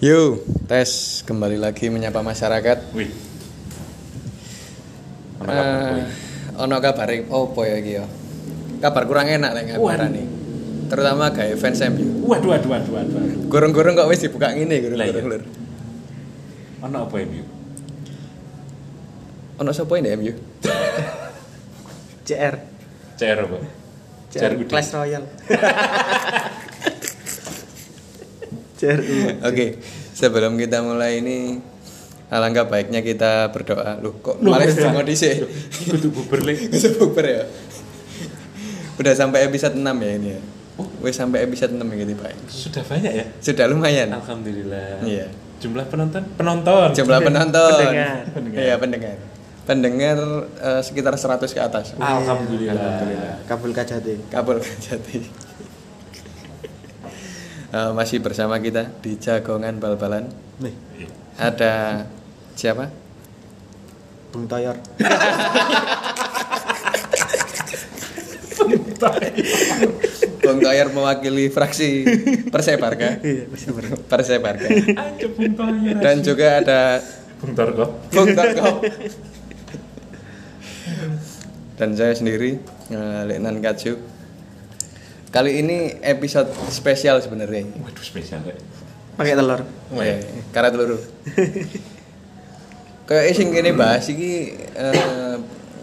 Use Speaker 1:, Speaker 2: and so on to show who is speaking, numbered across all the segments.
Speaker 1: Yo, tes kembali lagi menyapa masyarakat.
Speaker 2: Wih. Ono kabar,
Speaker 1: Eh,
Speaker 2: wih.
Speaker 1: ono kabar opo ya iki ya? Kabar kurang enak lek ngabarani. Terutama gawe fans MU.
Speaker 2: Waduh, waduh, waduh, waduh. waduh.
Speaker 1: Gorong-gorong kok wis dibuka ngene gorong-gorong.
Speaker 2: Lah, iya.
Speaker 1: lur.
Speaker 2: Ono apa MU?
Speaker 1: Ono sapa ini MU?
Speaker 3: CR
Speaker 2: CR apa? CR gede.
Speaker 3: Clash Royale CR
Speaker 1: Oke, sebelum kita mulai ini alangkah baiknya kita berdoa. Loh, kok
Speaker 2: Loh,
Speaker 1: malah
Speaker 2: iya.
Speaker 1: dongo dhisik.
Speaker 2: Kudu buber lek.
Speaker 1: Bisa bubar ya. Udah sampai episode 6 ya ini ya.
Speaker 2: Oh.
Speaker 1: Wis sampai episode 6 gitu, Pak.
Speaker 2: Sudah banyak ya?
Speaker 1: Sudah lumayan.
Speaker 2: Alhamdulillah.
Speaker 1: Iya.
Speaker 2: Jumlah penonton? Penonton.
Speaker 1: jumlah penonton
Speaker 3: Pendengar.
Speaker 1: iya pendengar pendengar eh, sekitar 100 ke atas
Speaker 2: Alhamdulillah.
Speaker 3: Kabul Kajati
Speaker 1: kabel jati Eh, masih bersama kita di jagongan bal-balan
Speaker 3: Nih
Speaker 1: ada siapa
Speaker 3: Bung Toyor
Speaker 1: Bung Toyer mewakili fraksi Persebarga
Speaker 3: Iya masih berat
Speaker 1: Persebarga
Speaker 2: Aja Bung Tor.
Speaker 1: dan juga ada
Speaker 2: Bung Tor kok.
Speaker 1: Bung Tarko dan saya sendiri eh, Letnan Kaju kali ini episode spesial sebenarnya
Speaker 2: Waduh, spesial lek.
Speaker 3: Pakai telur
Speaker 1: Eh, karat luru. Kayak sing kene bahas iki eh,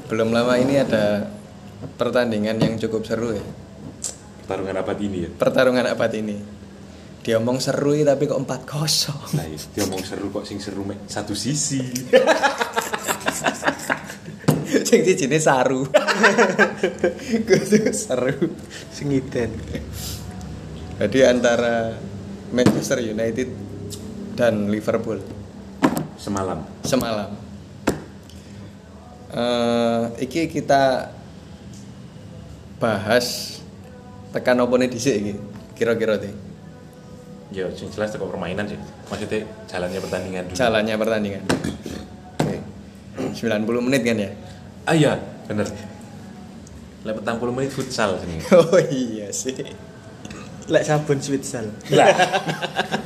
Speaker 1: belum lama ini ada pertandingan yang cukup seru ya.
Speaker 2: Pertarungan rapat ini ya.
Speaker 1: Pertarungan apa ini? Diomong seru ya, tapi kok 4-0.
Speaker 2: Nah, iya. dia mau seru kok sing seru mek satu sisi.
Speaker 1: sing sijine saru. Kudu seru.
Speaker 3: Sengiten
Speaker 1: Jadi antara Manchester United dan Liverpool
Speaker 2: Semalam.
Speaker 1: semalam. Eh, iki kita bahas tekan opone dhisik iki. Kira-kira deh
Speaker 2: Ya, sing jelas teko permainan sih. Maksudnya jalannya pertandingan dulu.
Speaker 1: jalannya pertandingan. Oke. 90 menit kan ya?
Speaker 2: Ah iya, bener. Lek petang puluh menit futsal sini.
Speaker 1: Oh iya sih.
Speaker 3: Lek sabun Switzerland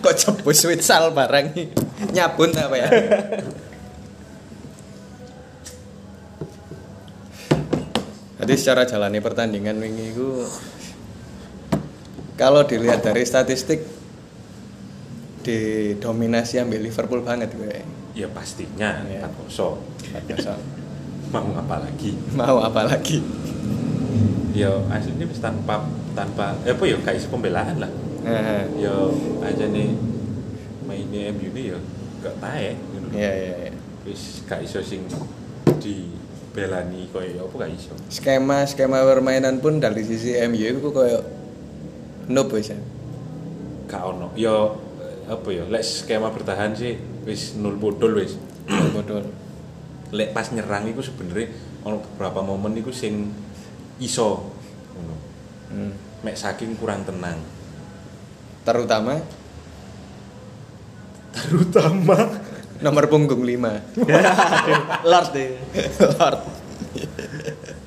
Speaker 1: Kok jebus futsal barang ini? Nyabun apa ya? Jadi secara jalannya pertandingan wingi itu kalau dilihat dari statistik didominasi ambil Liverpool banget gue.
Speaker 2: Ya pastinya
Speaker 1: Iya.
Speaker 2: 4-0. Mau apa lagi?
Speaker 1: Mau apa lagi?
Speaker 2: Ya aslinya wis tanpa tanpa eh apa ya gak iso pembelaan lah.
Speaker 1: Nah,
Speaker 2: Ya aja nih mainnya MU ini ya gak tae ngono lho.
Speaker 1: iya iya. iya.
Speaker 2: Wis gak iso sing dibelani koyo apa gak iso.
Speaker 1: Skema skema permainan pun dari sisi MU itu kayak noob wis ya.
Speaker 2: Gak ono. Ya eh, apa ya lek skema bertahan sih wis nol bodol wis.
Speaker 1: Bodoh.
Speaker 2: Lek pas nyerang iku sebenarnya ono beberapa momen iku sing iso ngono.
Speaker 1: Hmm.
Speaker 2: Mek saking kurang tenang.
Speaker 1: Terutama
Speaker 2: Terutama
Speaker 1: nomor punggung 5.
Speaker 3: Lord deh
Speaker 1: Lord.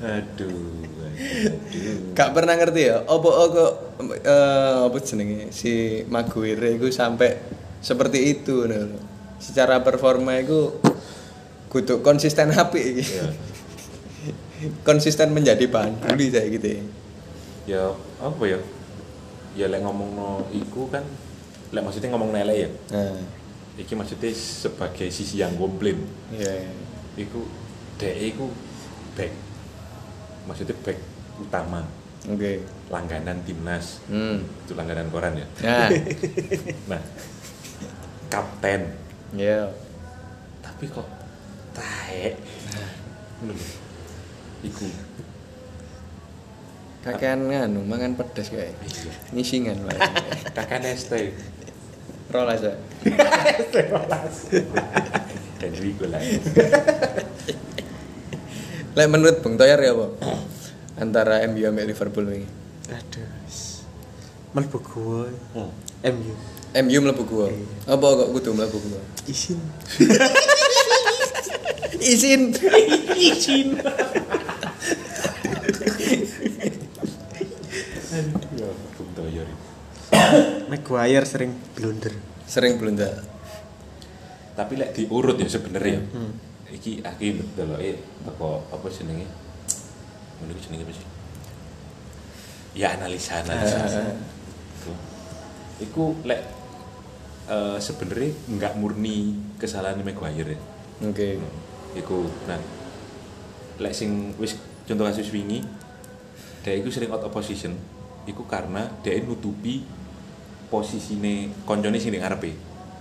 Speaker 2: aduh aduh
Speaker 1: Gak pernah ngerti ya, opo kok eh, apa jenenge si Maguire itu sampai seperti itu ngono lho. Secara performa itu kudu konsisten api iki.
Speaker 2: ya,
Speaker 1: konsisten menjadi bahan bully saya gitu ya.
Speaker 2: ya apa ya ya lek ngomong no iku kan lek maksudnya ngomong nelek ya
Speaker 1: Nah,
Speaker 2: iki maksudnya sebagai sisi yang komplain
Speaker 1: iya, iya.
Speaker 2: iku dek iku back maksudnya back utama
Speaker 1: Oke.
Speaker 2: langganan timnas
Speaker 1: Hmm.
Speaker 2: itu langganan koran ya
Speaker 1: Nah,
Speaker 2: nah kapten
Speaker 1: iya.
Speaker 2: tapi kok taek Ngono lho. iku
Speaker 1: Kakean nganu mangan pedes kayak.
Speaker 2: Iya.
Speaker 1: Ngisingan wae.
Speaker 2: kakak neste
Speaker 1: Rolas ya.
Speaker 2: dan Rigo lah
Speaker 1: Lek menurut Bung Toyer ya apa? Antara MU sama Liverpool ini.
Speaker 3: Aduh Melbu gua
Speaker 2: Hmm.
Speaker 3: MU
Speaker 1: MU mlebu gua. Apa kok kudu mlebu gua?
Speaker 3: Isin
Speaker 1: Izin.
Speaker 2: izin Bung Toyo Maguire.
Speaker 3: Maguire sering blunder.
Speaker 1: Sering blunder.
Speaker 2: Tapi lek diurut ya sebenarnya. Iki aku ndeloke teko apa jenenge? Ngono iki jenenge apa sih? Ya analisa analisa. Iku. Iku lek eh, sebenarnya nggak murni kesalahan Maguire ya.
Speaker 1: Oke.
Speaker 2: Iku nah lek sing wis contoh kasus wingi dia iku sering out of position iku karena dia nutupi posisine koncone sing di ngarepe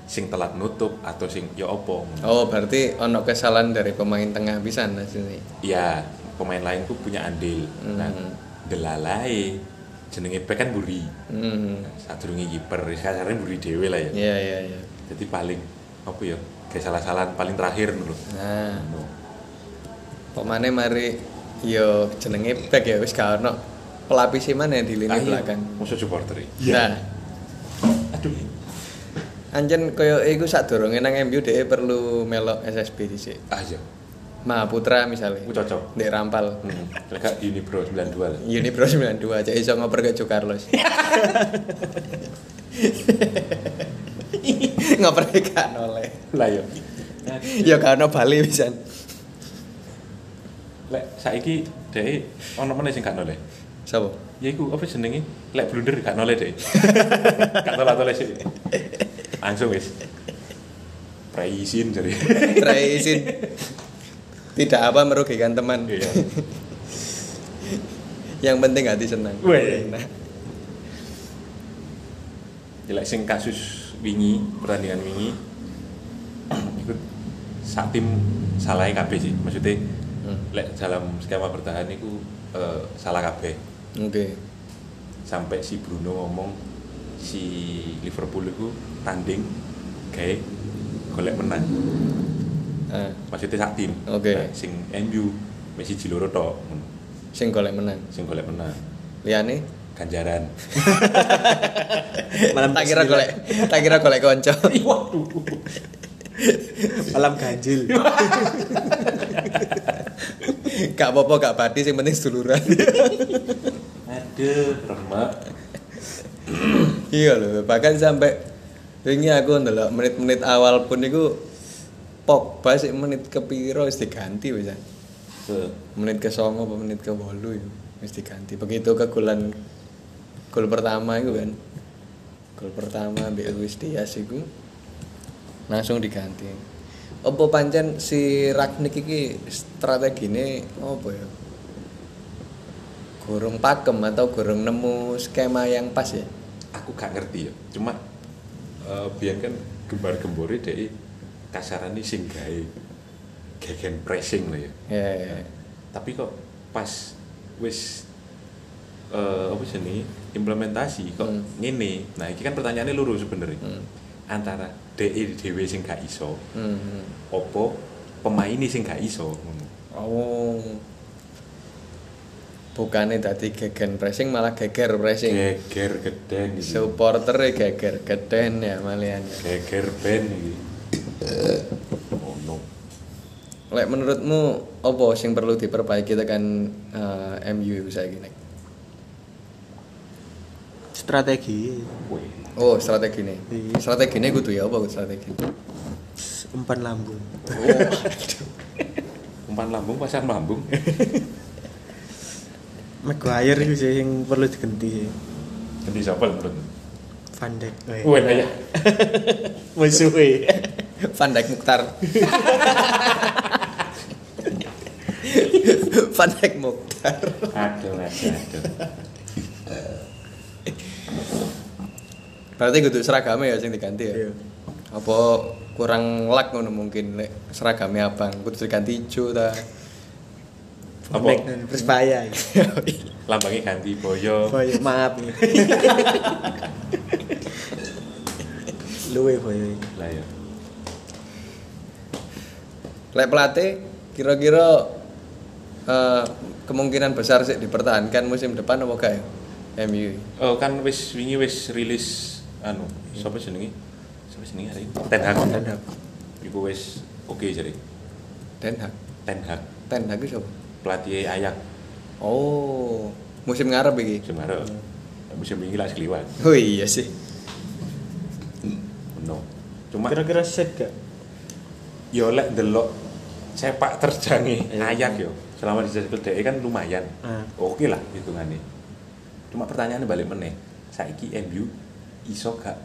Speaker 2: sing telat nutup atau sing ya opo
Speaker 1: Oh, berarti ono kesalahan dari pemain tengah bisa nah sini.
Speaker 2: ya pemain lain ku punya andil nah
Speaker 1: Mhm.
Speaker 2: delalai jenenge back kan buri
Speaker 1: Hmm.
Speaker 2: satu kiper kasarnya buri dewe lah ya
Speaker 1: Iya, iya, iya.
Speaker 2: jadi paling apa ya kayak salah-salahan paling terakhir dulu
Speaker 1: Nah, pemane mari yo jenenge back ya wis gak ono pelapisi mana di lini belakang.
Speaker 2: musuh supporter e.
Speaker 1: Nah,
Speaker 2: Iya. aduh
Speaker 1: anjen koyo iku sadurunge nang MU dhek perlu melok SSB dhisik.
Speaker 2: aja
Speaker 1: Mahaputra misalnya.
Speaker 2: aku Ah, iya. cocok
Speaker 1: Ndek rampal.
Speaker 2: Hmm, Lega Unibro 92 lah.
Speaker 1: Uni Pro 92 cek iso ngoper ke Cu Carlos. ngoper ke gak noleh.
Speaker 2: Lah yo.
Speaker 1: Ya gak ono Bali pisan.
Speaker 2: Lek saiki dhek ono meneh sing gak noleh.
Speaker 1: Sopo?
Speaker 2: Ya iku apa jenenge? Lek blunder gak noleh dhek. Gak tolak-tolak sih. Langsung wis. Praisin jadi.
Speaker 1: Rai izin. Tidak apa merugikan teman.
Speaker 2: Iya.
Speaker 1: Yang penting hati senang.
Speaker 2: Weh.
Speaker 1: Nah,
Speaker 2: Ya, Lek sing kasus wingi, pertandingan wingi iku sak tim salahnya kabeh sih. Maksudnya
Speaker 1: Hmm.
Speaker 2: lek dalam skema bertahan iku eh, salah kabeh.
Speaker 1: Oke.
Speaker 2: sampai si Bruno ngomong si Liverpool itu tanding kayak golek menang
Speaker 1: Ah,
Speaker 2: maksudnya sak tim
Speaker 1: Oke.
Speaker 2: Nah, sing MU Messi Jiloro tok ngono.
Speaker 1: sing golek menang.
Speaker 2: sing golek menang
Speaker 1: Liane
Speaker 2: ganjaran
Speaker 3: Malam
Speaker 1: tak kira golek, tak kira golek kanca.
Speaker 2: waduh
Speaker 3: Malam ganjil.
Speaker 1: Gak apa-apa gak badi sing penting seduluran.
Speaker 2: aduh remak
Speaker 1: iya loh bahkan sampai ini aku ndelok menit-menit awal pun itu Pogba sih menit ke piro wis diganti wis ya.
Speaker 2: Se-
Speaker 1: menit ke songo apa menit ke wolu itu wis diganti begitu ke golan gol pertama itu kan gol pertama Mbak Luis Diaz itu langsung diganti apa pancen si Ragnik iki strategine apa ya gorong pakem atau gorong nemu skema yang pas ya
Speaker 2: aku gak ngerti ya cuma eh biar kan gembar gembore deh kasarannya sing gawe gegen pressing lah ya
Speaker 1: ya, ya, ya.
Speaker 2: tapi kok pas wis eh apa sih ini, implementasi kok
Speaker 1: Hmm.
Speaker 2: ngene nah ini kan pertanyaannya lurus sebenarnya
Speaker 1: Hmm.
Speaker 2: antara DE dhewe sing gak iso
Speaker 1: Hmm.
Speaker 2: opo pemain ini sing gak iso ngono.
Speaker 1: Oh. Bukannya tadi gegen pressing malah geger pressing.
Speaker 2: geger geden iki
Speaker 1: Supporternya geger geden ya malian. ya.
Speaker 2: geger ben iki ono
Speaker 1: Lek menurutmu apa sing perlu diperbaiki tekan eh, MU saiki nek?
Speaker 3: Strategi
Speaker 2: Weh,
Speaker 1: Oh, strategine.
Speaker 3: Iya.
Speaker 1: Strategine kudu ya apa kudu strategine?
Speaker 3: umpan lambung.
Speaker 2: umpan lambung pasar lambung
Speaker 3: Maguire itu sih yang perlu diganti.
Speaker 2: jadi siapa menurut
Speaker 3: Van Dijk. weh.
Speaker 2: Weh, lah ya
Speaker 3: Musuhe.
Speaker 1: Van Dijk Mukhtar. Van Dijk Mukhtar.
Speaker 2: aduh aduh aduh
Speaker 1: Berarti kudu seragamnya ya sing diganti ya.
Speaker 3: Iya.
Speaker 1: Apa kurang lak ngono mungkin lek seragamnya abang kudu diganti ijo ta.
Speaker 2: Apa?
Speaker 3: Apa? Persebaya.
Speaker 2: lambangnya ganti boyo
Speaker 3: Boyo maaf nih. Luwe boyo.
Speaker 2: lah ya
Speaker 1: Lek pelatih kira-kira eh, kemungkinan besar sih dipertahankan musim depan apa gak ya? MU.
Speaker 2: Oh kan wis wingi wis rilis anu, sapa jenenge? Sapa jenenge hari? ini? Ten Hag.
Speaker 3: Ten Hag.
Speaker 2: Iku wis oke jadi.
Speaker 1: Ten Hag.
Speaker 2: Ten Hag
Speaker 1: Ten Hag itu siapa?
Speaker 2: pelatih Ayak
Speaker 1: Oh, musim ngarep iki.
Speaker 2: Jemara. musim ini lah sekeliwat
Speaker 1: Oh iya sih.
Speaker 2: no cuma
Speaker 3: Kira-kira set gak?
Speaker 2: yo lek delok sepak
Speaker 1: e,
Speaker 2: terjange ayak yo Iya. selama di Jazbel DE kan lumayan
Speaker 1: Ah.
Speaker 3: Hmm.
Speaker 2: oke lah hitungannya cuma pertanyaannya balik meneh saiki MU iso gak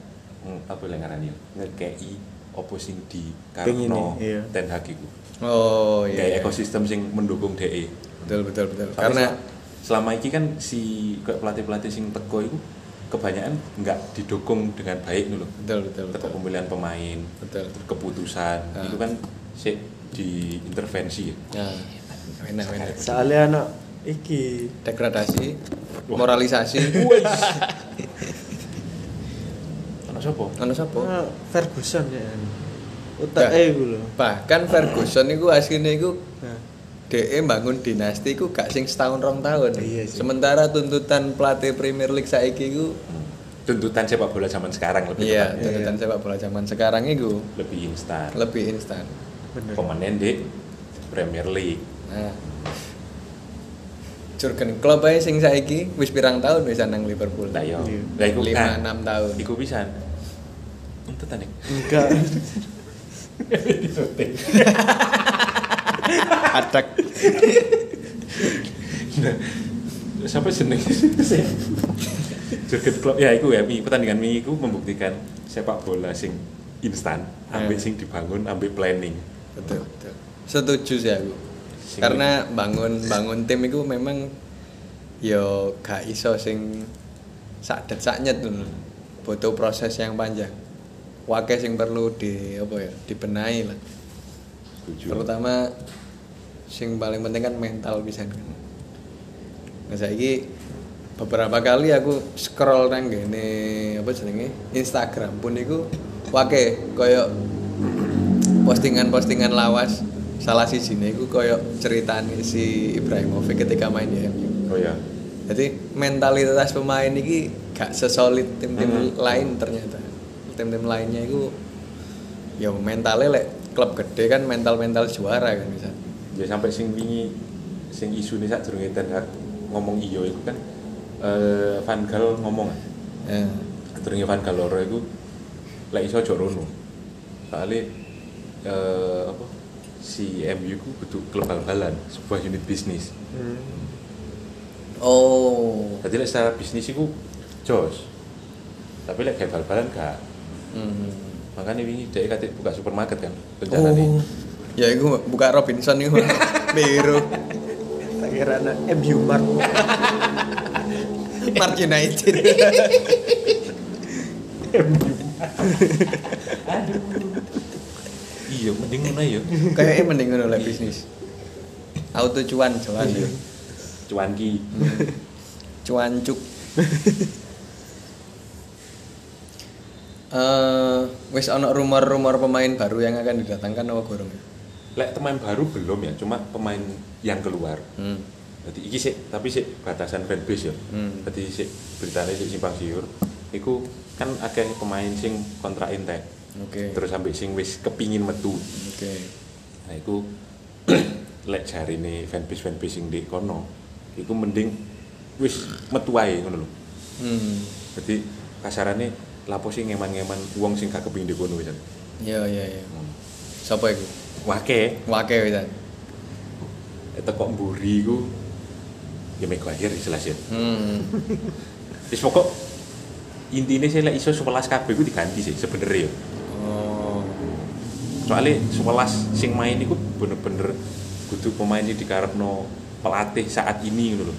Speaker 2: hmm, apa yang ngarani yo ngekei opo sing di karno
Speaker 3: Pengine, iya.
Speaker 2: ten Hag iku
Speaker 1: Oh iya.
Speaker 2: Kayak ekosistem sing mendukung DE
Speaker 1: Betul betul betul.
Speaker 2: Tapi
Speaker 1: Karena
Speaker 2: se- selama ini kan si kayak pelatih-pelatih sing teko itu kebanyakan nggak didukung dengan baik dulu
Speaker 1: betul betul
Speaker 2: tetap
Speaker 1: betul.
Speaker 2: pemilihan pemain
Speaker 1: Betul.
Speaker 2: keputusan
Speaker 1: Ah.
Speaker 2: itu kan sik diintervensi ya
Speaker 1: Nah, enak enak.
Speaker 3: Soalnya anak iki
Speaker 1: Degradasi,
Speaker 2: Wah.
Speaker 1: moralisasi.
Speaker 2: ono sapa
Speaker 1: Anu sapa?
Speaker 3: ah, Ferguson ya.
Speaker 1: Gak.
Speaker 3: Utak eh gue loh.
Speaker 1: Bahkan Ferguson itu aslinya itu
Speaker 3: Nah,
Speaker 1: DE bangun E dinasti ku gak sing setahun rong tahun.
Speaker 3: Iya sih.
Speaker 1: Sementara tuntutan pelatih Premier League saiki ku
Speaker 2: tuntutan sepak bola zaman sekarang lebih
Speaker 1: iya,
Speaker 2: tepatnya. ya.
Speaker 1: tuntutan sepak bola zaman sekarang iku
Speaker 2: lebih instan
Speaker 1: lebih instan.
Speaker 3: bener.
Speaker 2: pemainnya di Premier League
Speaker 1: Nah. Jurgen Klopp ae sing saiki wis pirang tahun wis nang Liverpool.
Speaker 2: nah yo
Speaker 3: Iya.
Speaker 2: nah iku
Speaker 1: Lima,
Speaker 2: kan
Speaker 1: enam tahun.
Speaker 2: iku pisan tuntutan nih
Speaker 3: Enggak.
Speaker 1: Adak.
Speaker 2: siapa seneng Jurgen Klopp ya iku ya Mi. pertandingan Mi iku membuktikan sepak bola sing instan ambil
Speaker 1: Ya.
Speaker 2: sing dibangun ambil planning
Speaker 1: Betul, betul. Setuju sih aku.
Speaker 2: Sing-
Speaker 1: Karena bangun bangun tim itu memang yo gak iso sing sak det sak nyet ngono. Butuh proses yang panjang. Wake sing perlu di apa ya, dibenahi lah.
Speaker 2: Setuju.
Speaker 1: Terutama sing paling penting kan mental bisa kan. Nah, saiki beberapa kali aku scroll nang ngene apa jenenge Instagram pun iku wake koyo postingan-postingan lawas salah siji iku koyo ceritane si Ibrahimovic ketika main di MU.
Speaker 2: oh ya
Speaker 1: Jadi mentalitas pemain ini gak sesolid tim-tim
Speaker 2: Mhm.
Speaker 1: lain ternyata. Tim-tim lainnya itu ya mentalnya lek klub gede kan mental-mental juara kan bisa.
Speaker 2: ya sampai sing wingi sing isu nih saat durunge Ten Hag ngomong iyo itu kan eh Van Gaal ngomong
Speaker 1: Ya.
Speaker 2: durunge Van Gaal loro iku lek iso aja rono soalnya eh apa si MU ku kudu klub bal-balan sebuah unit bisnis
Speaker 3: Hmm.
Speaker 1: Oh.
Speaker 2: jadi lek secara bisnis iku jos tapi lek kayak bal-balan gak
Speaker 1: Mhm.
Speaker 2: makanya wingi dia kate buka supermarket kan rencana
Speaker 1: Oh. Ya iku buka Robinson iku. Biru.
Speaker 3: Tak kira anak MU Mark.
Speaker 1: Mark United.
Speaker 2: iya mending ngono ya
Speaker 1: Kayaknya mending ngono lek bisnis. Auto cuan jelas.
Speaker 2: Iya. cuan ki
Speaker 1: cuan cuk Eh, wis ono rumor-rumor pemain baru yang akan didatangkan apa gorong?
Speaker 2: lek pemain baru belum ya cuma pemain yang keluar
Speaker 1: Hmm.
Speaker 2: Jadi iki sih, tapi sih batasan fanbase ya.
Speaker 1: Hmm.
Speaker 2: Jadi sih beritanya sih simpang siur. Iku kan akeh pemain sing kontrak entek.
Speaker 1: Oke.
Speaker 2: Terus sampai sing wis kepingin metu.
Speaker 1: Oke.
Speaker 2: Nah, iku lek jarine fanbase fanbase sing di kono, iku mending wis metu ae ngono lho.
Speaker 1: Hmm.
Speaker 2: Jadi kasarane lapo sih ngeman-ngeman wong sing gak kepingin di kono wis.
Speaker 1: Iya iya iya. Sopo iku?
Speaker 2: Wake
Speaker 1: Wake wis.
Speaker 2: teko mburi iku ya Maguire jelas ya.
Speaker 1: Hmm.
Speaker 2: Wis pokok intinya sih lek iso 11 kabeh iku diganti sih sebenarnya ya.
Speaker 1: Oh.
Speaker 2: Soalnya 11 sing main iku bener-bener kudu pemain sing dikarepno pelatih saat ini ngono lho.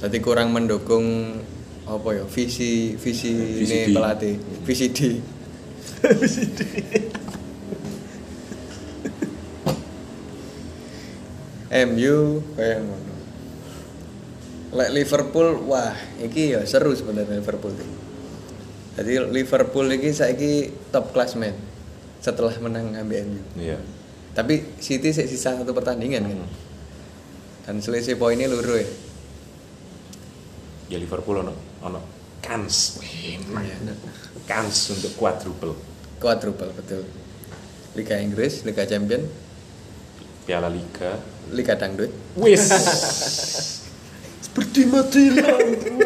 Speaker 1: Jadi kurang mendukung apa ya visi visi, ini
Speaker 2: Visi D.
Speaker 1: pelatih visi D MU kayak ngono lek Liverpool wah iki ya seru sebenarnya Liverpool iki. jadi Liverpool iki saiki top klasmen setelah menang ambil MU
Speaker 2: Iya.
Speaker 1: tapi City sik sisa satu pertandingan kan
Speaker 2: Hmm.
Speaker 1: dan selisih poinnya luruh ya
Speaker 2: Ya Liverpool ono ono kans. Kans untuk quadruple
Speaker 1: Quadruple betul. Liga Inggris, Liga Champion,
Speaker 2: Piala Liga.
Speaker 1: Liga Dangdut.
Speaker 2: Wis.
Speaker 3: Berdimati lampu.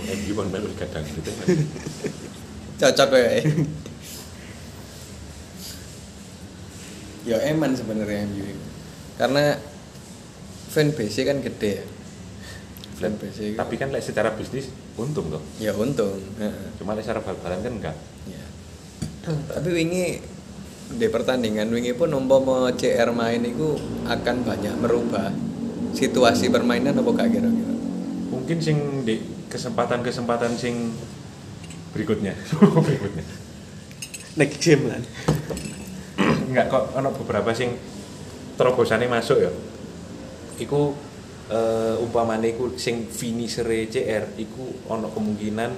Speaker 2: MU kan melu kadang gitu.
Speaker 1: cocok ya ya eman sebenarnya MU ini. karena fanbase kan gede ya fanbase
Speaker 2: Tapi kan lek secara bisnis untung kok.
Speaker 1: ya untung heeh.
Speaker 2: Cuma lek secara bal-balan kan enggak.
Speaker 1: Ya. Tapi wingi di pertandingan wingi pun umpama CR main itu akan banyak merubah situasi permainan apa gak kira-kira.
Speaker 2: Mungkin sing di kesempatan-kesempatan sing berikutnya. berikutnya.
Speaker 3: Next game lan.
Speaker 2: Enggak kok ono beberapa sing terobosannya masuk ya. Iku eh, umpamane iku sing finisher CR iku ono kemungkinan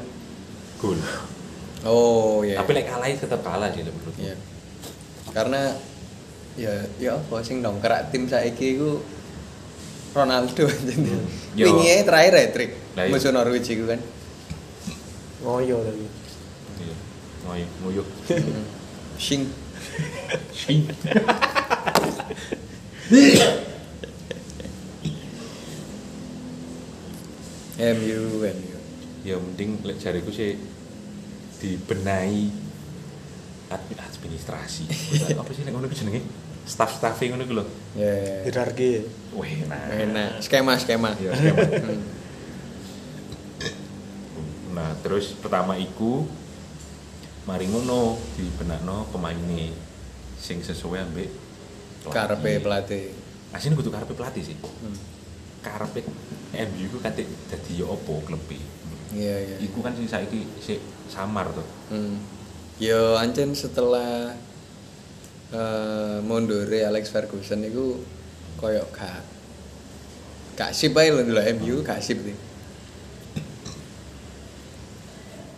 Speaker 2: gol.
Speaker 1: Oh ya.
Speaker 2: Tapi lek kalah ya tetap kalah sih lek menurutku.
Speaker 1: Ya. Karena ya ya apa sing dongkrak tim saiki iku Ronaldo jadi.
Speaker 2: Yo.
Speaker 1: Wingi ae terakhir ya trik.
Speaker 2: Hmm. Lah, iya.
Speaker 1: Musuh Norwich iku kan.
Speaker 3: Ngoyo lagi.
Speaker 2: Iya. Ngoyo, ngoyo. Hmm.
Speaker 1: Sing
Speaker 2: Sing.
Speaker 1: MU MU.
Speaker 2: ya mending lek jariku sih dibenahi admin administrasi apa sih lek ngono ku jenenge staff-staffe ngono ku lho
Speaker 1: Ya. ya.
Speaker 3: Hierarki.
Speaker 2: wah
Speaker 1: Enak. Skema skema.
Speaker 2: ya skema.
Speaker 1: Hmm.
Speaker 2: nah terus pertama iku mari ngono dibenakno pemaine sing sesuai ambek pelatih.
Speaker 1: Karepe pelatih.
Speaker 2: Asline kudu karepe pelatih sih
Speaker 1: Hmm.
Speaker 2: karepe MU ku kate dadi ya apa klebe
Speaker 1: Iya iya.
Speaker 2: E. iku kan sing saiki sik samar to
Speaker 1: Hmm. Yo ancen setelah eh mondore Alex Ferguson itu koyok gak gak sip ae lho ndelok MU gak sip sih.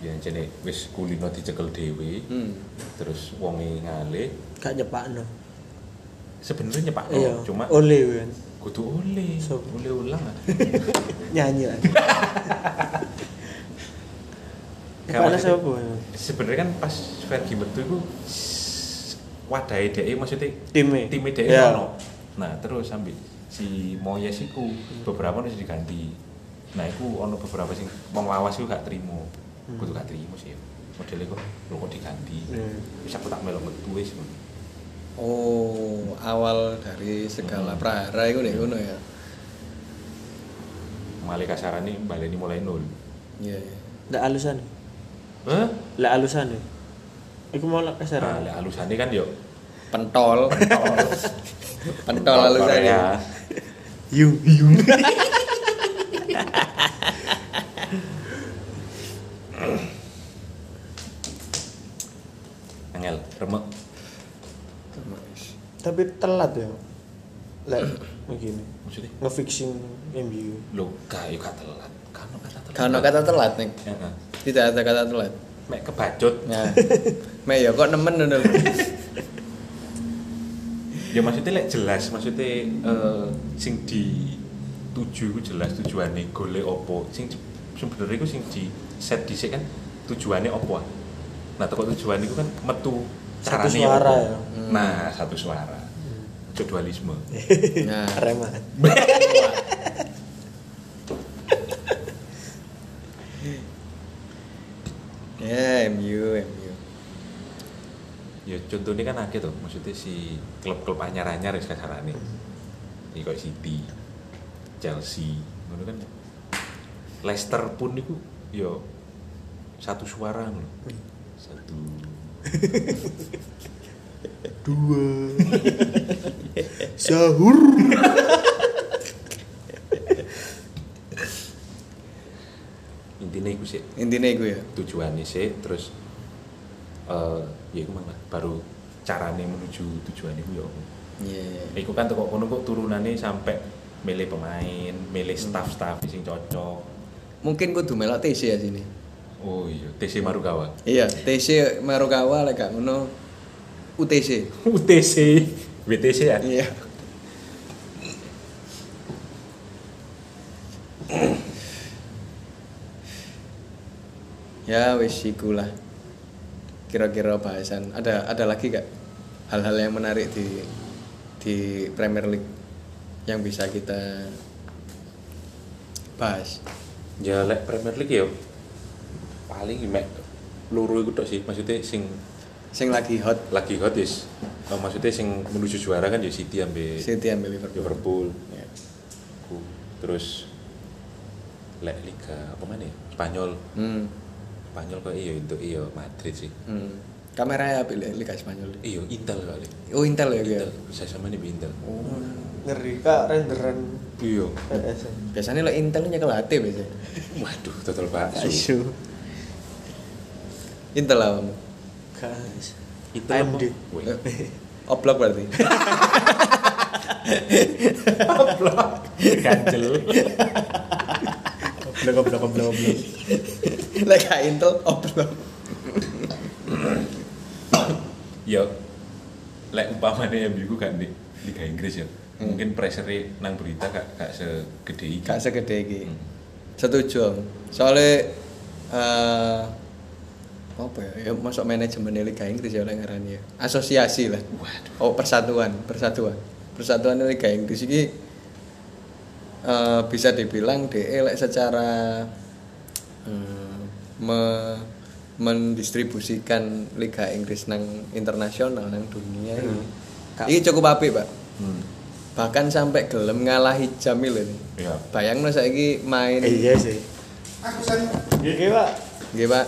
Speaker 2: ya jene wis kulino dicekel dhewe
Speaker 1: Hmm.
Speaker 2: terus wonge ngale
Speaker 3: Gak nyepakno.
Speaker 2: sebenarnya nyepak
Speaker 3: Iya.
Speaker 2: cuma
Speaker 3: oleh kan.
Speaker 2: kudu oleh
Speaker 3: So.
Speaker 2: oleh ulang
Speaker 3: Nyanyi lagi.
Speaker 2: Gak
Speaker 3: Nyepakno
Speaker 2: maksudnya-
Speaker 3: siapa?
Speaker 2: sebenarnya kan pas Fergie metu iku s- wadahe dhek maksudnya
Speaker 3: Time.
Speaker 2: time dhek
Speaker 3: Iya.
Speaker 2: ono nah terus sambil si Moyes iku beberapa harus diganti nah iku ono beberapa sing wong lawas iku gak trimo kudu gak trimo sih modelnya kok lho kok diganti
Speaker 3: Hmm.
Speaker 2: bisa aku tak melok metu wis
Speaker 1: Oh, awal dari segala
Speaker 2: Hmm.
Speaker 1: prahara itu nek ngono ya.
Speaker 2: malah kasarane baleni mulai nol
Speaker 1: Iya iya.
Speaker 3: Ndak alusan.
Speaker 2: Hah?
Speaker 3: Lah alusan. ya? Iku mau lek kasar.
Speaker 2: Nah, lek alusane kan yo
Speaker 1: Pentol, pentol ya. lalu
Speaker 2: Korea.
Speaker 1: saya.
Speaker 3: Yung yung.
Speaker 2: Angel, remek.
Speaker 3: Tapi telat ya. Lek begini.
Speaker 2: Maksudnya?
Speaker 3: Ngefixing MU.
Speaker 2: Lo gak yo gak telat. Kan kata telat.
Speaker 1: Kan kata telat nih.
Speaker 2: Heeh.
Speaker 1: Tidak ada kata telat.
Speaker 2: Mek kebacut.
Speaker 1: Nah. Mek ya kok nemen ngono lho.
Speaker 2: Ya maksudnya lek jelas, maksudnya eh, sing di tuju ku jelas tujuane gole opo. Sing je- sebenarnya ku sing di set dhisik kan tujuane opo. Nah, teko tujuan iku kan metu
Speaker 3: Satu
Speaker 2: carane
Speaker 3: suara
Speaker 2: opo.
Speaker 3: ya.
Speaker 1: Hmm.
Speaker 2: Nah, satu suara. Itu dualisme.
Speaker 1: Nah.
Speaker 3: Rema.
Speaker 1: Ya, MU, MU.
Speaker 2: ya contohnya kan akeh tuh maksudnya si klub-klub anyar-anyar wis kasarane ini kayak City Chelsea ngono kan Leicester pun itu ya satu suara ngono satu
Speaker 3: Dua. Sahur.
Speaker 2: intinya itu sih
Speaker 1: Intinya iku ya.
Speaker 2: tujuannya sih terus eh ya itu malah baru carane menuju tujuan itu ya apa.
Speaker 1: Iya. iya.
Speaker 2: Iku kan toko kono kok turunannya sampai milih pemain, milih staff-staff sing cocok.
Speaker 1: Mungkin kudu melok TC ya sini.
Speaker 2: Oh iya, TC Marugawa.
Speaker 1: Iya, TC Marukawa lek gak ngono UTC.
Speaker 2: UTC BTC ya
Speaker 1: Iya. ya wis ikulah. Kira-kira bahasan ada ada lagi gak hal-hal yang menarik di di Premier League? yang bisa kita bahas
Speaker 2: ya lek Premier League ya paling mek luru iku tok sih maksudnya sing
Speaker 1: sing lagi hot
Speaker 2: lagi hot is oh, maksudnya sing menuju juara kan ya City ambil
Speaker 1: City ambil Liverpool
Speaker 2: Liverpool
Speaker 1: Ya.
Speaker 2: Ku. terus lek liga apa mana ya? Spanyol
Speaker 1: hmm.
Speaker 2: Spanyol kok iya itu iya Madrid sih
Speaker 1: hmm. kamera ya pilih Liga Spanyol
Speaker 2: iya Intel kali
Speaker 1: oh Intel ya Oh.
Speaker 2: Intel
Speaker 1: gitu
Speaker 2: saya sama nih Intel
Speaker 3: Ngeri kak renderan
Speaker 2: iya
Speaker 3: PS.
Speaker 1: biasanya lo Intel nyekel HT biasanya
Speaker 2: waduh total bakso
Speaker 1: Asu. Intel lah kamu
Speaker 3: Guys.
Speaker 2: Intel apa?
Speaker 3: AMD.
Speaker 2: Wih.
Speaker 1: Eh, Oblak berarti
Speaker 2: ganjel
Speaker 3: Goblok goblok goblok goblok.
Speaker 1: Lek gak Intel oblak
Speaker 2: ya lek umpamane MU ku kan di Liga Inggris ya mungkin pressure nang berita gak gak segede iki
Speaker 1: Hmm. gak segede iki
Speaker 2: Hmm.
Speaker 1: setuju Om. soalnya eh apa ya, ya masuk manajemen Liga Inggris ya oleh ngarani ya asosiasi lah
Speaker 2: waduh
Speaker 1: oh persatuan persatuan persatuan Liga Inggris ini eh, bisa dibilang DE lek secara hmm, me- mendistribusikan Liga Inggris nang internasional nang dunia ini. Ini cukup apik, Pak.
Speaker 2: hmm.
Speaker 1: Bahkan sampai gelem ngalahi Jamil ini.
Speaker 2: ya
Speaker 1: Bayangno saiki main
Speaker 3: Eh, Iya sih.
Speaker 4: Aku sen
Speaker 3: Oke pak.
Speaker 1: nggih, Pak.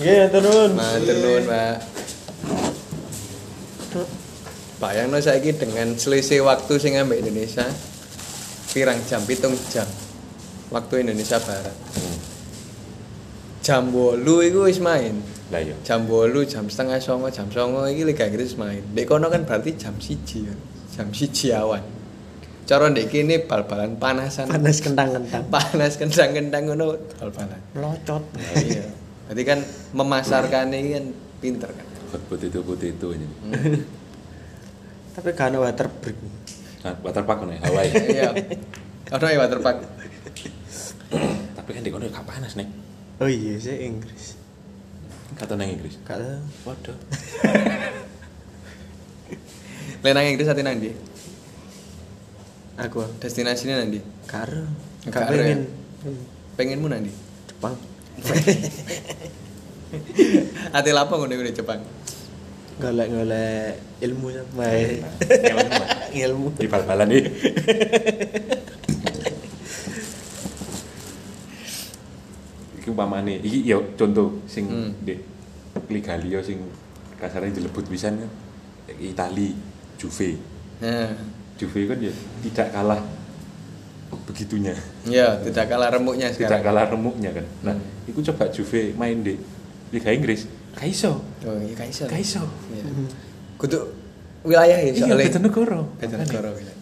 Speaker 3: Iya turun.
Speaker 1: Matur nuwun, Pak. Bayangno saiki dengan selisih waktu sing ambek Indonesia pirang jam pitung jam waktu Indonesia Barat
Speaker 2: Hmm.
Speaker 1: jam bolu itu wis main
Speaker 2: lah
Speaker 3: Iya.
Speaker 2: ya
Speaker 1: jam bolu jam setengah songo jam songo ini Liga Inggris main dek kono kan berarti jam siji kan jam siji awan cara dek kini bal-balan panasan
Speaker 3: Panas kentang kentang.
Speaker 1: panas kendang-kendang ngono bal-balan
Speaker 3: Melocot.
Speaker 1: Oh, iya berarti kan memasarkan ini kan pinter kan
Speaker 2: hot potato potato ini
Speaker 3: Tapi gak ada water break.
Speaker 2: nah, waterpark nih Hawaii
Speaker 1: iya ono ya waterpark
Speaker 2: tapi kan di kono gak panas nih
Speaker 3: Oh iya sih Inggris.
Speaker 2: kata nang Inggris
Speaker 3: Gak tahu.
Speaker 2: waduh
Speaker 1: lenang Inggris hati nang ndi?
Speaker 3: Aku
Speaker 1: destinasinya nang ndi?
Speaker 3: karo.
Speaker 1: Gak ada ya?
Speaker 3: Gak pengen. Hmm,
Speaker 1: pengenmu nang ndi?
Speaker 3: Jepang.
Speaker 1: hati lapo ngono iku di Jepang
Speaker 3: Golek-golek ilmu sama
Speaker 2: Ngelmu, Pak.
Speaker 3: ilmu.
Speaker 2: di bal-balan nih iki umpamane iki ya contoh sing
Speaker 1: Hmm.
Speaker 2: di Liga Liga sing kasarnya dilebut pisan kan Itali Juve
Speaker 1: nah
Speaker 2: Juve kan ya tidak kalah begitunya
Speaker 1: ya tidak kalah remuknya
Speaker 2: tidak
Speaker 1: sekarang
Speaker 2: kalah remuknya kan nah itu coba Juve main di Liga Inggris kaiso
Speaker 1: oh iya kaiso
Speaker 2: kaiso
Speaker 1: iya kudu wilayah ya
Speaker 2: iya
Speaker 1: soalnya
Speaker 2: beda negara
Speaker 1: beda negara wilayah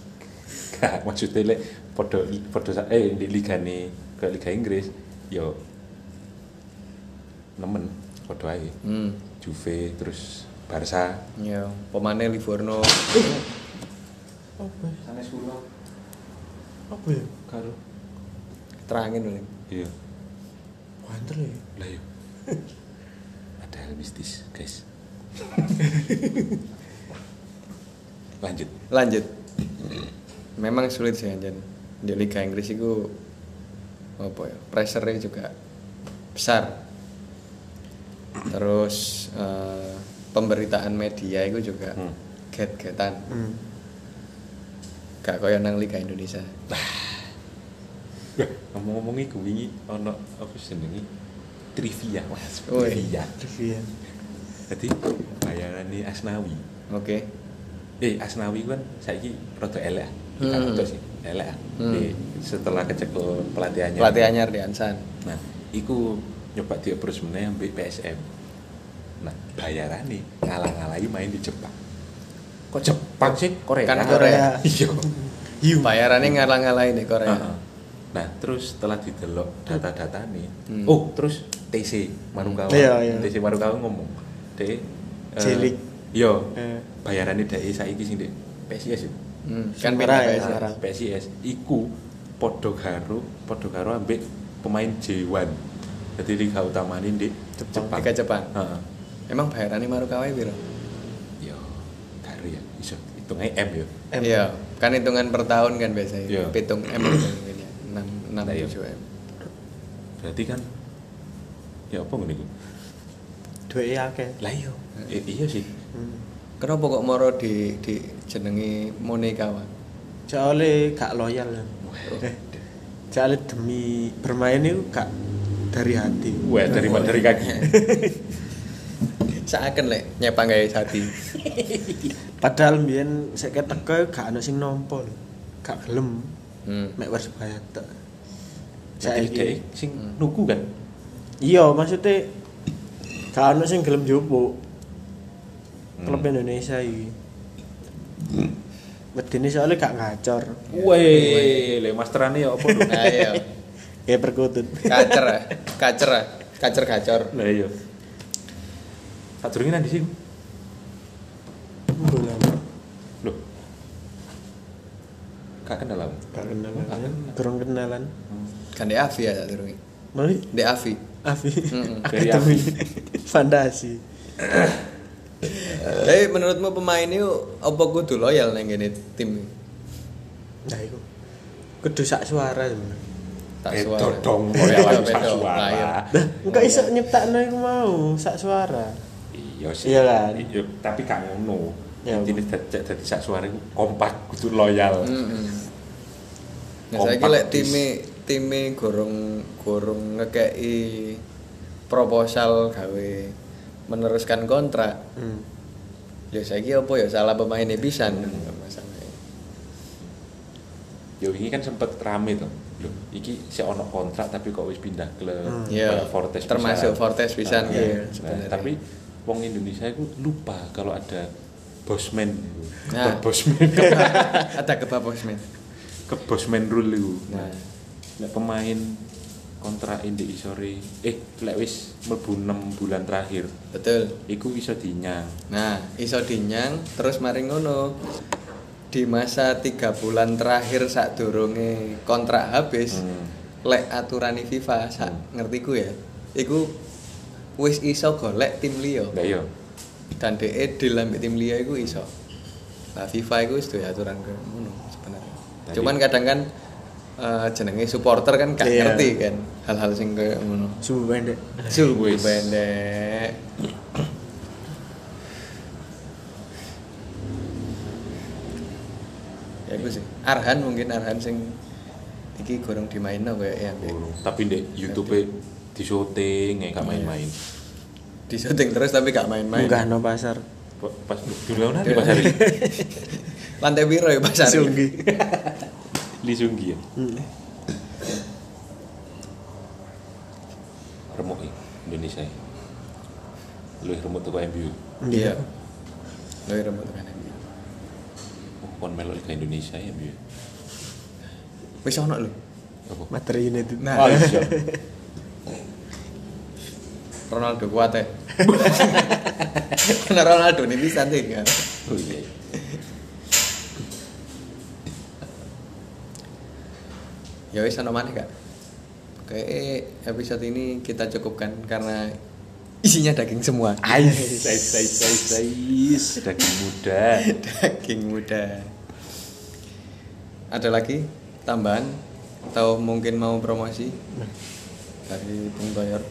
Speaker 2: Gak, maksudnya lek podo podo sa- eh di liga nih ke liga Inggris yo nemen podo aja
Speaker 1: hmm
Speaker 2: Juve terus Barca
Speaker 1: iya pemane Livorno
Speaker 2: Eh,
Speaker 3: Apa?
Speaker 4: sana suruh.
Speaker 3: Apa ya?
Speaker 2: karo
Speaker 1: terangin lho
Speaker 2: iya
Speaker 3: Wander ya.
Speaker 2: lah yo ada hal mistis guys lanjut
Speaker 1: lanjut memang sulit sih Anjan di Liga Inggris itu apa ya pressure-nya juga besar terus eh, pemberitaan media itu juga
Speaker 2: Hmm.
Speaker 1: get-getan
Speaker 3: Hmm.
Speaker 1: gak kaya nang Liga Indonesia
Speaker 2: ngomong-ngomong iku wingi ono apa jenenge trivia mas
Speaker 1: Oi.
Speaker 2: trivia
Speaker 3: Trivia.
Speaker 2: jadi bayaran nih Asnawi
Speaker 1: oke
Speaker 2: Eh, Asnawi kan saiki rada elek.
Speaker 1: Hmm.
Speaker 2: Kita hmm. sih, elek.
Speaker 1: Hmm.
Speaker 2: Di, setelah kecekel pelatihannya.
Speaker 1: pelatihnya Ardian San
Speaker 2: Nah, iku nyoba di approach meneh ambek PSM. Nah, bayaran nih ngalah-ngalahi main di Jepang. Kok Jepang sih? Korea.
Speaker 1: Kan Korea.
Speaker 2: Iya.
Speaker 1: bayarannya ngalah-ngalahin di Korea
Speaker 2: Heeh. Nah, terus setelah didelok data-data nih,
Speaker 1: Hmm.
Speaker 2: oh, terus TC Marukawa.
Speaker 3: Iya, iya.
Speaker 2: TC Marukawa ngomong, "Dek, eh,
Speaker 3: Cilik.
Speaker 2: Yo,
Speaker 3: Eh.
Speaker 2: bayarannya dari saiki sing di PSIS ya?"
Speaker 1: Hmm,
Speaker 3: Sing
Speaker 1: kan pindah
Speaker 3: Korea ya, San.
Speaker 1: PSM.
Speaker 3: sekarang.
Speaker 2: PSIS iku podo karo podo karo ambek pemain J1 jadi liga utama ini di
Speaker 3: Jepang.
Speaker 2: Jepang
Speaker 1: Liga Jepang.
Speaker 2: Heeh.
Speaker 1: emang bayarannya Marukawa ya, Biro?
Speaker 2: yo karo ya iso hitunge M ya
Speaker 3: M.
Speaker 1: iya kan hitungan per tahun kan biasanya
Speaker 2: Iya.
Speaker 1: pitung m mungkin ya enam enam
Speaker 2: Nah, iya.
Speaker 1: tujuh m
Speaker 2: Berarti kan ya apa ngene iku?
Speaker 3: duwe akeh
Speaker 2: Lah iya. Eh, iya sih.
Speaker 3: hmm.
Speaker 1: kenapa kok moro di di jenengi Monica Wan?
Speaker 3: Soale gak loyal kan Soale demi bermain itu gak dari hati
Speaker 2: Wah, dari dari kaki.
Speaker 1: seakan lek nyepang kayak hati
Speaker 3: padahal mbiyen sik teko gak ono sing nampa lho. gak gelem
Speaker 1: hmm.
Speaker 3: mek wis bayar tok
Speaker 2: Jadi
Speaker 3: Saiki-
Speaker 2: dia sing nuku kan.
Speaker 3: iya maksudnya gak ono sing gelem jopo klub Indonesia iki Wedine soalnya gak ngacor
Speaker 2: Weh, le masterane ya apa lho?
Speaker 1: ayo
Speaker 3: ya perkutut
Speaker 1: kacer ah. kacer ah. kacer gacor
Speaker 2: Lah iya. Sadurunge nang di sini.
Speaker 3: Bola.
Speaker 2: Loh. Kak kenal aku.
Speaker 3: gak kenalan kurang kenalan
Speaker 1: kan di Avi ya tak durungi.
Speaker 3: Mari
Speaker 1: di Avi
Speaker 3: Afi
Speaker 1: Mm-mm.
Speaker 2: Dari
Speaker 3: Akademi Fantasi
Speaker 1: tapi menurutmu pemain itu apa kudu loyal neng gini tim
Speaker 3: Nah itu Kudu sak suara sebenarnya
Speaker 1: tak
Speaker 2: Eh,
Speaker 1: suara Oh,
Speaker 2: dodong, loyal aku sak
Speaker 1: Bedo,
Speaker 2: suara.
Speaker 1: lahir.
Speaker 3: Oh, Enggak iso nyiptakno iku mau sak suara
Speaker 2: Iya sih.
Speaker 3: Iya kan?
Speaker 2: Iya, tapi gak ngono.
Speaker 3: Ya.
Speaker 2: Intine dadi dadi sak suara iku kompak kudu loyal.
Speaker 1: Mm-mm. Hmm, Nah,
Speaker 2: Kompak
Speaker 1: saya kira
Speaker 2: dis.
Speaker 1: time time gorong gorong ngekei proposal gawe meneruskan kontrak.
Speaker 3: hmm.
Speaker 1: Ya saya kira apa ya salah pemainnya bisa masalahnya.
Speaker 2: Yo ini kan sempet rame tuh. Loh, iki si ono kontrak tapi kok wis pindah klub.
Speaker 3: Hmm.
Speaker 1: Ya,
Speaker 2: Kayak Fortes
Speaker 1: termasuk
Speaker 2: pisan.
Speaker 1: Fortes pisan
Speaker 2: Nah,
Speaker 1: kan
Speaker 2: iya.
Speaker 1: sebenarnya.
Speaker 2: Nah, tapi wong Indonesia itu lupa kalau ada bosman.
Speaker 1: Nah.
Speaker 2: Nah. Bosman.
Speaker 1: Ada kebabosmen.
Speaker 2: ke bosman rule itu.
Speaker 1: Nah.
Speaker 2: Nah, nek pemain kontrak di isore eh lek wis mlebu 6 bulan terakhir
Speaker 1: Betul.
Speaker 2: iku iso dinyang.
Speaker 1: Nah, iso dinyang terus mari ngono. Di masa tiga bulan terakhir saat durunge kontrak habis,
Speaker 2: Hmm.
Speaker 1: lek aturan FIFA sak ngertiku ya. Iku wis iso golek tim liya.
Speaker 2: Lah iya.
Speaker 1: Dan DE deal ambek tim liya iku iso. Nah, FIFA iku wis duwe aturan ke ngono sebenarnya.
Speaker 2: Jadi-
Speaker 1: Cuman kadang kan eh, jenenge supporter kan gak
Speaker 3: Iya.
Speaker 1: ngerti kan hal-hal sing kayak ngono.
Speaker 3: Sumbu pendek
Speaker 1: Sumbu
Speaker 2: Wis.
Speaker 1: pendek. ya gue sih. Arhan mungkin Arhan sing iki gorong dimainno kayak ya. Mbak.
Speaker 2: Burung. Tapi di YouTube di syuting ya gak main-main.
Speaker 1: Di syuting terus tapi gak main-main.
Speaker 3: Munggah no pasar
Speaker 2: Pa- Pas dulu nanti pas hari
Speaker 1: Lantai biru ya Pak Sari.
Speaker 3: Sunggi
Speaker 2: Li Sunggi ya.
Speaker 3: Hmm.
Speaker 2: Remuk ya, Indonesia. ya. Luwih remuk tuh MU.
Speaker 1: Iya. Lo ya rambut kan.
Speaker 2: Oh, kon melok Liga Indonesia ya MU.
Speaker 1: Wis ono lho.
Speaker 2: Apa?
Speaker 3: Materi United
Speaker 1: Nah.
Speaker 2: Oh, iya.
Speaker 1: Ronaldo kuat ya. Karena Ronaldo ini bisa kan? tinggal.
Speaker 2: Oh, iya.
Speaker 1: Ya wis ono maneh Kak. Oke, episode ini kita cukupkan karena isinya daging semua.
Speaker 2: Ais, ais, ais, ais, ais. Daging muda.
Speaker 1: daging muda. Ada lagi tambahan atau mungkin mau promosi dari Bung Toyor?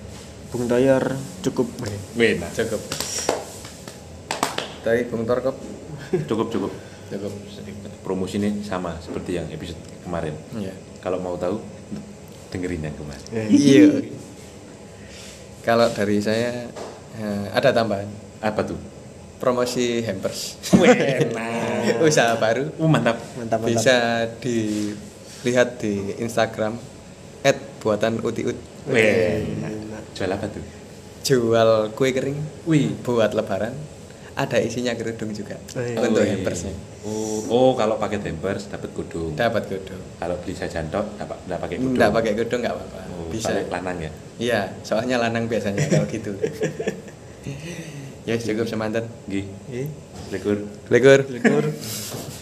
Speaker 3: Bung Toyor cukup Weh.
Speaker 2: Wena.
Speaker 1: Cukup. Dari Bung Torkop
Speaker 2: Cukup, cukup.
Speaker 1: cukup.
Speaker 2: Promosi ini sama seperti yang episode kemarin.
Speaker 1: Iya.
Speaker 2: Kalau mau tahu, dengerin yang kemarin.
Speaker 1: Iya. Kalau dari saya eh, ada tambahan
Speaker 2: Apa tuh?
Speaker 1: promosi hampers.
Speaker 2: Wena.
Speaker 1: Usaha baru
Speaker 2: Oh, mantap.
Speaker 3: Mantap mantap
Speaker 1: bisa dilihat di Instagram @buatanutiut.
Speaker 2: Wena. Jual apa tuh?
Speaker 1: jual kue kering
Speaker 2: Wih.
Speaker 1: buat lebaran ada isinya kerudung juga
Speaker 3: Eh.
Speaker 1: untuk
Speaker 2: Wih.
Speaker 1: hampersnya
Speaker 2: Oh, oh kalau pakai hampers dapat kudung.
Speaker 1: dapat kerudung
Speaker 2: Kalau beli sajantok dapat enggak pakai kudung.
Speaker 1: nggak pakai kerudung nggak apa-apa
Speaker 2: Oh,
Speaker 1: bisa
Speaker 2: pakai lanang ya.
Speaker 1: iya soalnya lanang biasanya kalau gitu ya cukup semanten
Speaker 2: Nggih.
Speaker 3: Eh,
Speaker 2: Legur.
Speaker 1: legur
Speaker 3: Legur